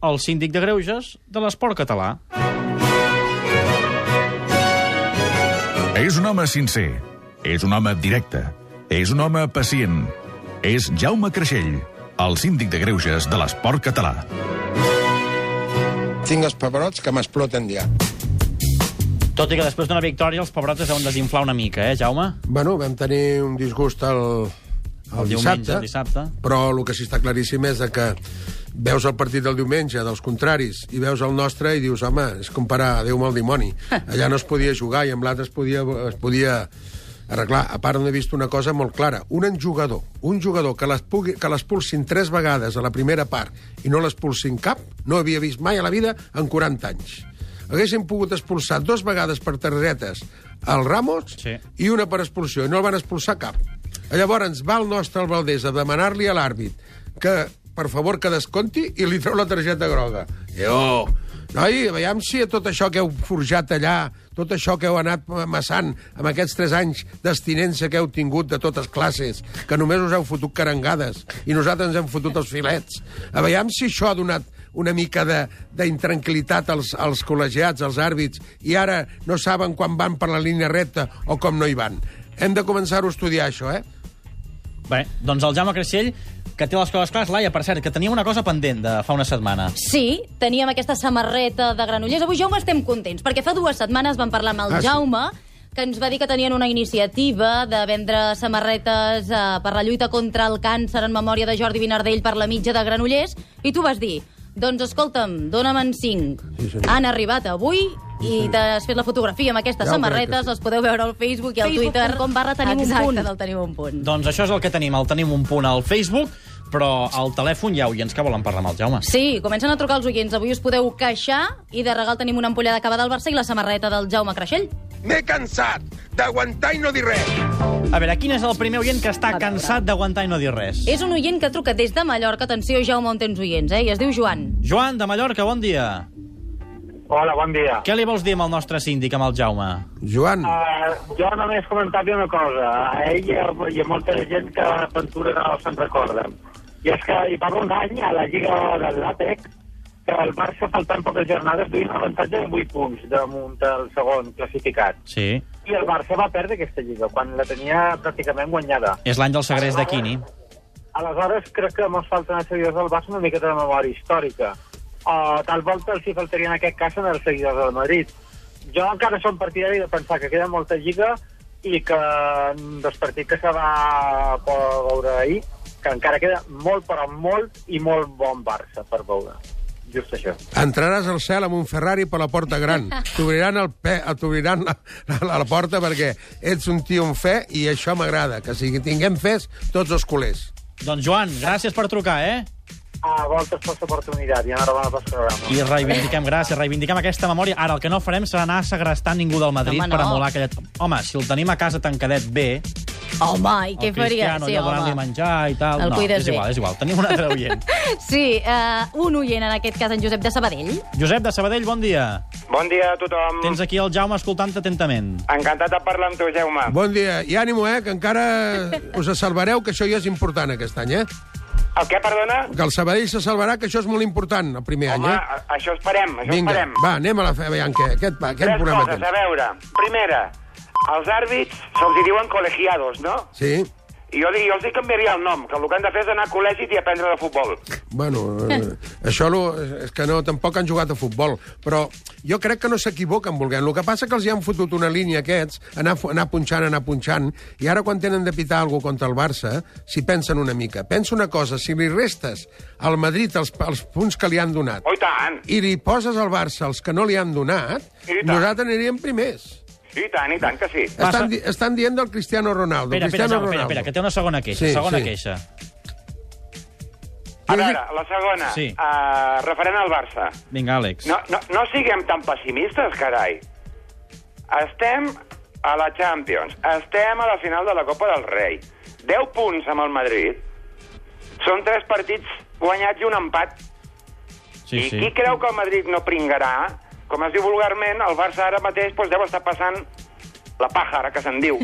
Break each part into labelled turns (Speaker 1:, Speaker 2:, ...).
Speaker 1: el síndic de greuges de l'esport català.
Speaker 2: És un home sincer. És un home directe. És un home pacient. És Jaume Creixell, el síndic de greuges de l'esport català.
Speaker 3: Tinc els pebrots que m'exploten ja.
Speaker 1: Tot i que després d'una victòria els pebrotes deuen desinflar una mica, eh, Jaume?
Speaker 3: Bueno, vam tenir un disgust el, el,
Speaker 1: El diumenge,
Speaker 3: dissabte,
Speaker 1: el dissabte.
Speaker 3: però el que sí està claríssim és de que veus el partit del diumenge dels contraris i veus el nostre i dius, home, és comparar Déu amb el dimoni. Allà no es podia jugar i amb l'altre es, podia, es podia arreglar. A part, no he vist una cosa molt clara. Un jugador, un jugador que l'expugui- que l'expulsin tres vegades a la primera part i no l'expulsin cap, no havia vist mai a la vida en 40 anys. Haguessin pogut expulsar dos vegades per targetes al Ramos
Speaker 1: Sí.
Speaker 3: i una per expulsió, i no el van expulsar cap. Llavors va el nostre al Valdés a demanar-li a l'àrbit que, per favor, que desconti i li treu la targeta groga. Jo, noi, veiem si tot això que heu forjat allà, tot això que heu anat amassant amb aquests tres anys d'estinença que heu tingut de totes classes, que només us heu fotut carengades i nosaltres ens hem fotut els filets, a veiem si això ha donat una mica de- d'intranquil·litat als, als col·legiats, als àrbits, i ara no saben quan van per la línia recta o com no hi van. Hem de començar-ho a estudiar, això, eh?
Speaker 1: Bé, doncs el Jaume Creixell, que té les coses clares. Laia, per cert, que teníem una cosa pendent de fa una setmana.
Speaker 4: Sí, teníem aquesta samarreta de granollers. Avui, Jaume, estem contents, perquè fa dues setmanes vam parlar amb el
Speaker 3: Ah, sí.
Speaker 4: Jaume que ens va dir que tenien una iniciativa de vendre samarretes eh, per la lluita contra el càncer en memòria de Jordi Vinardell per la mitja de Granollers, i tu vas dir, doncs escolta'm, dona'm-en cinc.
Speaker 3: Sí, senyor.
Speaker 4: Han arribat avui i t'has fet la fotografia amb aquestes
Speaker 3: Ja ho crec
Speaker 4: samarretes,
Speaker 3: que sí.
Speaker 4: les podeu veure al Facebook i al Twitter.
Speaker 5: Facebook.com barra tenim un
Speaker 4: Exacte,
Speaker 5: punt.
Speaker 4: del tenim un punt.
Speaker 1: Doncs això és el que tenim. El tenim un punt al Facebook, però al telèfon ja ho i ens que volen parlar amb el Jaume.
Speaker 4: Sí, comencen a trucar els oients. Avui us podeu queixar i de regal tenim una ampolla de cava del Barça i la samarreta del Jaume Creixell.
Speaker 6: M'he cansat d'aguantar i no dir res.
Speaker 1: A veure, quin és el primer oient que està cansat d'aguantar i no dir res?
Speaker 4: És un oient que truca des de Mallorca. Atenció, Jaume, on tens oients, eh? I es diu Joan.
Speaker 1: Joan, de Mallorca, bon dia.
Speaker 7: Hola, bon dia.
Speaker 1: Què li vols dir amb el nostre síndic, amb el Jaume?
Speaker 3: Joan,
Speaker 7: Uh, jo només comentar-li una cosa. A ell i a, i a molta gent que de l'aventura no se'n recorda. I és que hi va haver un any a la Lliga del Làtec que el Barça, faltant poques jornades, duia un avantatge de 8 punts damunt del segon classificat.
Speaker 1: Sí,
Speaker 7: I el Barça va perdre aquesta Lliga, quan la tenia pràcticament guanyada.
Speaker 1: és l'any del segrest de Quini.
Speaker 7: Aleshores, crec que mos falten els seguidors del Barça una miqueta de memòria històrica. O tal volta els hi faltaria en aquest cas en els seguidors del Madrid. Jo encara som partidari de pensar que queda molta lliga i que en dels partits que se va poder veure ahir, que encara queda molt, però molt i molt bon Barça per veure. Just això.
Speaker 3: entraràs al cel amb un Ferrari per la porta gran. T'obriran el pe... t'obriran la, la, la porta perquè ets un tio amb fe i això m'agrada, que si tinguem fes tots els culers.
Speaker 1: Doncs Joan, gràcies per trucar, eh?
Speaker 7: A voltes per l'oportunitat i enhorabona pel programa.
Speaker 1: I reivindiquem, gràcies, reivindiquem aquesta memòria. Ara, el que no farem serà anar a segrestar ningú del Madrid
Speaker 4: Home,
Speaker 1: per
Speaker 4: no.
Speaker 1: emular aquella... Home, si el tenim a casa tancadet bé,
Speaker 4: Home, i què
Speaker 1: el
Speaker 4: faria?
Speaker 1: Cristiano,
Speaker 4: Sí,
Speaker 1: allò donant-li
Speaker 4: home.
Speaker 1: menjar i tal...
Speaker 4: El
Speaker 1: no,
Speaker 4: cuides
Speaker 1: és
Speaker 4: bé.
Speaker 1: igual, és igual. Tenim un altre oient.
Speaker 4: Sí, uh, un oient, en aquest cas, en Josep de Sabadell.
Speaker 1: Josep de Sabadell, bon dia.
Speaker 8: Bon dia a tothom.
Speaker 1: Tens aquí el Jaume escoltant atentament.
Speaker 8: Encantat de parlar amb tu, Jaume.
Speaker 3: Bon dia, i ànimo, eh, que encara us salvareu, que això ja és important aquest any, eh?
Speaker 8: El què, perdona?
Speaker 3: Que el Sabadell se salvarà, que això és molt important el primer
Speaker 8: Home,
Speaker 3: any, eh?
Speaker 8: a- això esperem, això
Speaker 3: Vinga,
Speaker 8: esperem.
Speaker 3: va, anem a la fe, veiem què, aquest, va, aquest
Speaker 8: Tres
Speaker 3: programa
Speaker 8: coses,
Speaker 3: tens.
Speaker 8: a veure. Primera, als àrbits se'ls hi diuen col·legiados, no?
Speaker 3: Sí?
Speaker 8: I jo, dic- jo els hi canviaria el nom, que el que han de fer és anar a col·legi i aprendre de futbol.
Speaker 3: Bueno, eh, això lo, és que no, tampoc han jugat a futbol, però jo crec que no s'equivoquen volent. El que passa que els hi han fotut una línia aquests, anar, fu- anar punxant, anar punxant, i ara quan tenen de pitar alguna contra el Barça, s'hi pensen una mica. Pensa una cosa, si li restes al Madrid els, els punts que li han donat
Speaker 8: Oh, i tant,
Speaker 3: i li poses al Barça els que no li han donat,
Speaker 8: I tant.
Speaker 3: nosaltres aniríem primers.
Speaker 8: i tant, i tant que sí.
Speaker 1: Passa-
Speaker 3: Estan, di estan dient del Cristiano Ronaldo.
Speaker 1: Espera, espera,
Speaker 3: Cristiano
Speaker 1: Jaume, espera, espera, que té una segona queixa.
Speaker 3: Sí,
Speaker 1: segona
Speaker 3: sí.
Speaker 1: queixa.
Speaker 8: A veure, la segona,
Speaker 1: Sí.
Speaker 8: eh, referent al Barça.
Speaker 1: Vinga, Àlex.
Speaker 8: No, no, no siguem tan pessimistes, carai. Estem a la Champions, estem a la final de la Copa del Rei. 10 punts amb el Madrid. Són 3 partits guanyats i un empat.
Speaker 1: sí,
Speaker 8: I
Speaker 1: sí.
Speaker 8: qui creu que el Madrid no pringarà? Com es diu vulgarment, el Barça ara mateix doncs, deu estar passant la paja, ara que se'n diu.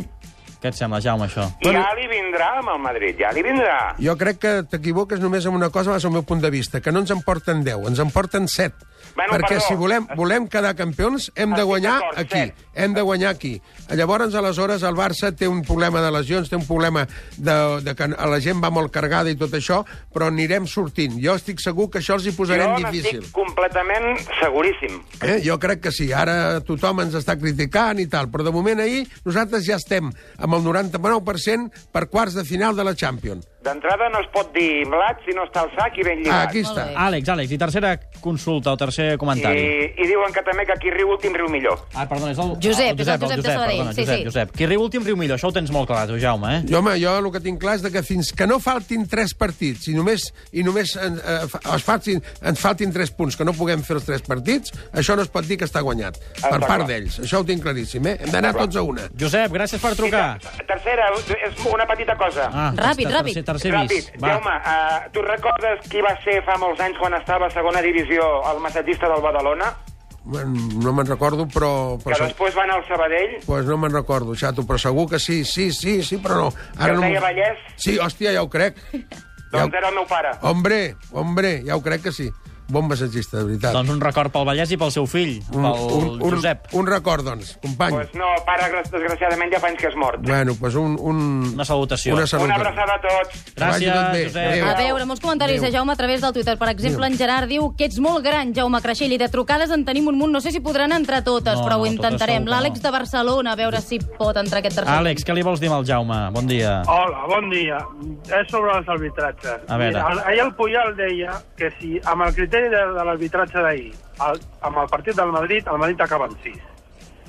Speaker 1: Què et sembla, Jaume, això?
Speaker 8: I ja li vindrà amb el Madrid, ja li vindrà.
Speaker 3: Jo crec que t'equivoques només amb una cosa, és el meu punt de vista, que no ens en porten 10, ens en porten 7.
Speaker 8: Bueno,
Speaker 3: Perquè
Speaker 8: perdó.
Speaker 3: si volem, volem quedar campions, hem de
Speaker 8: Estic
Speaker 3: guanyar
Speaker 8: d'acord,
Speaker 3: aquí.
Speaker 8: set.
Speaker 3: Hem de guanyar aquí. Llavors, aleshores, el Barça té un problema de lesions, té un problema de, de que la gent va molt cargada i tot això, però anirem sortint. Jo estic segur que això els hi posarem
Speaker 8: jo
Speaker 3: difícil.
Speaker 8: n'estic completament seguríssim.
Speaker 3: Eh? Jo crec que sí, ara tothom ens està criticant i tal, però de moment ahir nosaltres ja estem amb el 99% per quarts de final de la Champions.
Speaker 8: D'entrada no es pot dir blat si no està al sac i ben
Speaker 3: Ah,
Speaker 8: lligat.
Speaker 3: aquí està.
Speaker 4: Molt bé.
Speaker 1: Àlex, Àlex, i tercera consulta o tercer comentari.
Speaker 8: I, I diuen que també que qui riu últim riu millor.
Speaker 1: Ah, perdona, és el...
Speaker 4: Josep,
Speaker 1: el
Speaker 4: és el Josep de Sabadell.
Speaker 1: Perdona,
Speaker 4: Sí,
Speaker 1: Josep,
Speaker 4: sí.
Speaker 1: Josep. Qui riu últim riu millor, això ho tens molt clar, tu, Jaume, eh?
Speaker 3: Jo, home, jo el que tinc clar és de que fins que no faltin tres partits i només, i només en, eh, fa- es faltin, ens faltin tres punts, que no puguem fer els tres partits, això no es pot dir que està guanyat per
Speaker 8: clar.
Speaker 3: part d'ells. Això ho tinc claríssim, eh? Hem d'anar tots a una.
Speaker 1: Josep, gràcies per trucar. Ah,
Speaker 8: Tercera, és una petita cosa.
Speaker 3: Ah,
Speaker 4: Ràpid,
Speaker 1: tercer-
Speaker 4: ràpid.
Speaker 1: Tercer, tercer
Speaker 8: Ràpid,
Speaker 1: bis. Va.
Speaker 8: Jaume, uh, tu recordes qui va ser fa molts anys quan estava a segona divisió el massatgista del Badalona?
Speaker 3: Bueno, No me'n recordo, però...
Speaker 8: Que
Speaker 3: però se-
Speaker 8: després va anar al Sabadell?
Speaker 3: pues no me'n recordo, xato, però segur que sí, sí, sí, sí, però no.
Speaker 8: Que
Speaker 3: no
Speaker 8: es
Speaker 3: me'n-
Speaker 8: deia Vallès?
Speaker 3: Sí, hòstia, ja ho crec. Ja Oh, ho-
Speaker 8: Doncs era el meu pare.
Speaker 3: Hombre, hombre, ja ho crec que sí. Bon massatgista, de veritat.
Speaker 1: Doncs un record pel Vallès i pel seu fill, pel
Speaker 3: un, un,
Speaker 1: Josep.
Speaker 3: un record, doncs, company.
Speaker 8: Doncs no, pare, gra- desgraciadament ja fa anys que és mort.
Speaker 3: Bueno, pues un... un...
Speaker 1: Una salutació.
Speaker 3: Una
Speaker 8: Una
Speaker 3: salutació.
Speaker 8: abraçada a tots.
Speaker 1: Gràcies,
Speaker 3: Que vagi tot bé.
Speaker 1: Josep.
Speaker 3: Adéu.
Speaker 4: A veure, molts comentaris de Jaume a través del Twitter. Per exemple, en Gerard diu que ets molt gran, Jaume Creixell, i de trucades en tenim un munt. No sé si podran entrar totes,
Speaker 1: No,
Speaker 4: però
Speaker 1: no,
Speaker 4: ho
Speaker 1: totes
Speaker 4: intentarem.
Speaker 1: segur que no.
Speaker 4: L'Àlex de Barcelona, a veure si pot entrar aquest tercer.
Speaker 1: Àlex, què li vols dir al Jaume? Bon dia.
Speaker 7: Hola, bon dia. És sobre els arbitratges.
Speaker 1: A veure.
Speaker 7: Mira, ahir el Puyol deia que si amb el criteri de, de l'arbitratge d'ahir, el- amb el partit del Madrid, el Madrid acaba amb 6.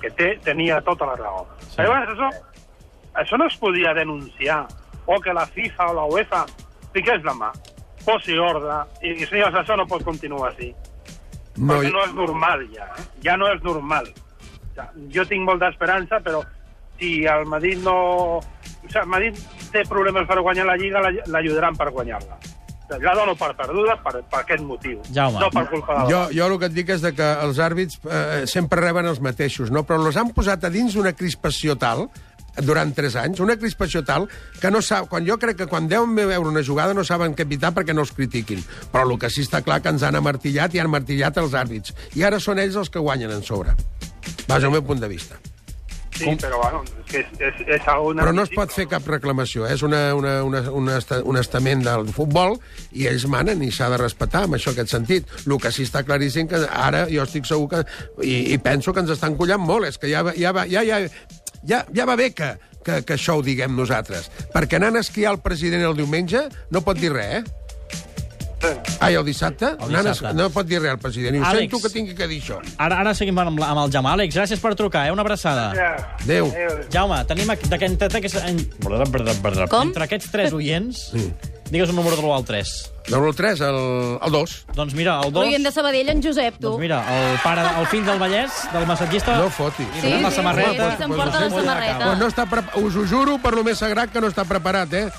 Speaker 7: Que té, tenia tota la raó. Sí. Llavors, això, això no es podia denunciar. O que la FIFA o la UEFA fiqués la mà, posi ordre, i, i senyors, això no pot continuar així.
Speaker 3: No,
Speaker 7: No, perquè no és normal, ja. eh? Ja no és normal. Ja, Jo tinc molta esperança, però si el Madrid no... O sigui, el Madrid té problemes per guanyar la Lliga, l'aj- l'ajudaran per guanyar-la. La dono per perduda per, per aquest motiu.
Speaker 1: Jaume.
Speaker 7: No per culpa de la...
Speaker 3: Jo, jo el que et dic és de que els àrbits eh, sempre reben els mateixos, no? però els han posat a dins una crispació tal durant 3 anys, una crispació tal que no sap, quan jo crec que quan deuen veure una jugada no saben què evitar perquè no els critiquin. Però el que sí està clar que ens han amartillat i han amartillat els àrbits. I ara són ells els que guanyen en sobre. Vaja, el meu punt de vista.
Speaker 7: Sí, però bueno, és, que és, és, és una...
Speaker 3: Però no es pot fer cap reclamació, eh? és una, una, una, una esta, un estament del futbol i ells manen i s'ha de respetar en això aquest sentit. El que sí està claríssim que ara jo estic segur que... I, i penso que ens estan collant molt, és que ja, va- ja, va, ja, ja, ja, ja va bé que, que, que això ho diguem nosaltres. Perquè anant a esquiar el president el diumenge no pot dir res, eh? Ai, el dissabte?
Speaker 1: El
Speaker 3: Anant a-
Speaker 1: dissabte.
Speaker 3: No pot dir res el president. I ho
Speaker 1: Àlex.
Speaker 3: sento que tingui que dir això.
Speaker 1: Ara, ara seguim amb, la- amb el Jaume. Àlex, gràcies per trucar, eh? Una abraçada.
Speaker 3: Adéu.
Speaker 1: Jaume, tenim aquí... De, entre, entre,
Speaker 4: Com?
Speaker 1: entre aquests tres oients, digues un número de l'1 al 3.
Speaker 3: De l'1-3 al, al 2.
Speaker 1: Doncs mira, el 2...
Speaker 4: L'oient de Sabadell, en Josep, tu.
Speaker 1: Doncs mira, el, pare, el fill del Vallès, del massatgista...
Speaker 3: No fotis.
Speaker 1: Li
Speaker 4: Sí,
Speaker 1: donem la
Speaker 4: sí,
Speaker 1: samarreta.
Speaker 4: sí, s'emporta la
Speaker 3: Pues no sé,
Speaker 4: samarreta.
Speaker 3: Pues no està pre- us ho juro per lo més sagrat que no està preparat, eh?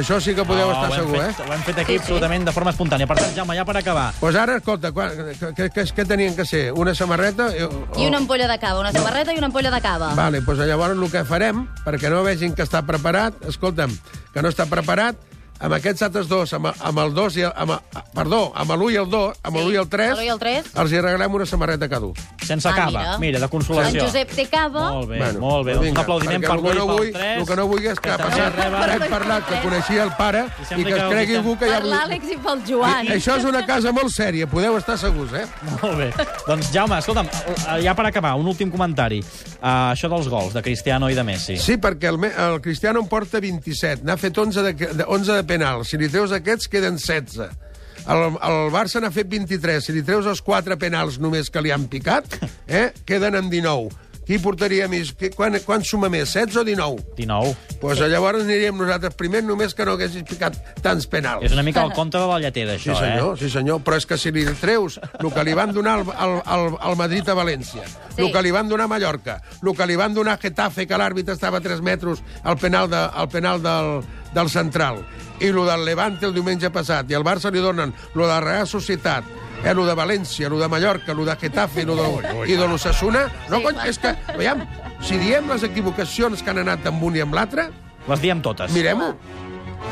Speaker 3: Això sí que podeu
Speaker 1: Ah,
Speaker 3: estar
Speaker 1: ho hem
Speaker 3: segur,
Speaker 1: fet,
Speaker 3: eh?
Speaker 1: Ho hem fet aquí
Speaker 4: Sí, sí.
Speaker 1: absolutament de forma espontània. Per tant, Jaume, ja per acabar,
Speaker 3: Doncs pues ara, escolta, quan, què, què, què tenien que ser? Una samarreta? eh, O...
Speaker 4: I una ampolla de cava, una samarreta i una ampolla de cava.
Speaker 3: Vale, doncs llavors el que farem, perquè no vegin que està preparat, escolta'm, que no està preparat, amb aquests altres dos, amb, amb el dos i el, amb, el- perdó, amb l'1 i el 2, amb
Speaker 4: Sí,
Speaker 3: l'1 i el 3,
Speaker 4: amb l'1 i el tres.
Speaker 3: els hi regalem una samarreta cada un.
Speaker 1: sense
Speaker 4: Ah,
Speaker 1: cava.
Speaker 4: mira.
Speaker 1: mira, de
Speaker 4: En
Speaker 1: consolació.
Speaker 4: Josep té cava.
Speaker 1: Molt bé, bueno, molt bé. Doncs un
Speaker 3: vinga,
Speaker 1: aplaudiment
Speaker 3: perquè
Speaker 1: per
Speaker 3: el que
Speaker 1: l'1
Speaker 3: no
Speaker 1: i
Speaker 3: vull-
Speaker 1: pel 3.
Speaker 3: El que no vull és que,
Speaker 1: Que
Speaker 3: ha
Speaker 1: també
Speaker 3: passat,
Speaker 1: reben-
Speaker 3: hem parlat que coneixia el pare
Speaker 1: I
Speaker 3: i
Speaker 1: sembla
Speaker 3: que es
Speaker 1: que
Speaker 3: cregui
Speaker 1: ho-
Speaker 3: algú que ja...
Speaker 4: Per l'Àlex i pel Joan.
Speaker 3: I, això és una casa molt sèria, podeu estar segurs, eh?
Speaker 1: Molt bé. Doncs, Jaume, escolta'm, eh, ja per acabar, un últim comentari. Uh, això dels gols, de Cristiano i de Messi.
Speaker 3: Sí, perquè el, me- el Cristiano en porta 27, n'ha fet 11 de, de, 11 de penal. Si li treus aquests, queden 16. El, el Barça n'ha fet 23. Si li treus els 4 penals només que li han picat, eh, queden en 19. Qui portaria més? Qui- Quan, quan suma més, 16 o 19?
Speaker 1: 19.
Speaker 3: Doncs pues llavors aniríem nosaltres primer, només que no haguessis picat tants penals.
Speaker 1: És una mica el compte de la lletera,
Speaker 3: Sí,
Speaker 1: això,
Speaker 3: senyor, sí, senyor. Però és que si li treus el que li van donar al, al, al, al Madrid a València,
Speaker 4: Sí.
Speaker 3: sí. el que li van donar a Mallorca, el que li van donar a Getafe, que l'àrbitre estava a 3 metres al penal, de, al penal del, del central, i el del Levante el diumenge passat, i al Barça li donen el de Real Societat, eh, lo de València, lo de Mallorca, lo de Getafe lo de... i de l'Ossassuna... No, cony, és que, veiem, si diem les equivocacions que han anat amb un i amb l'altre,
Speaker 1: eh? Les diem totes.
Speaker 3: mirem-ho.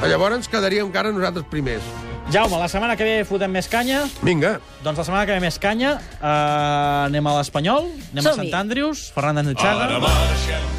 Speaker 3: Llavors ens quedaríem encara nosaltres primers.
Speaker 1: Jaume, la setmana que ve fotem més canya.
Speaker 3: Vinga.
Speaker 1: Doncs la setmana que ve més canya. Uh, anem a l'Espanyol, anem a
Speaker 4: Som-hi.
Speaker 1: Sant Andrews, Ferran Andutxaga.
Speaker 5: Ara marxem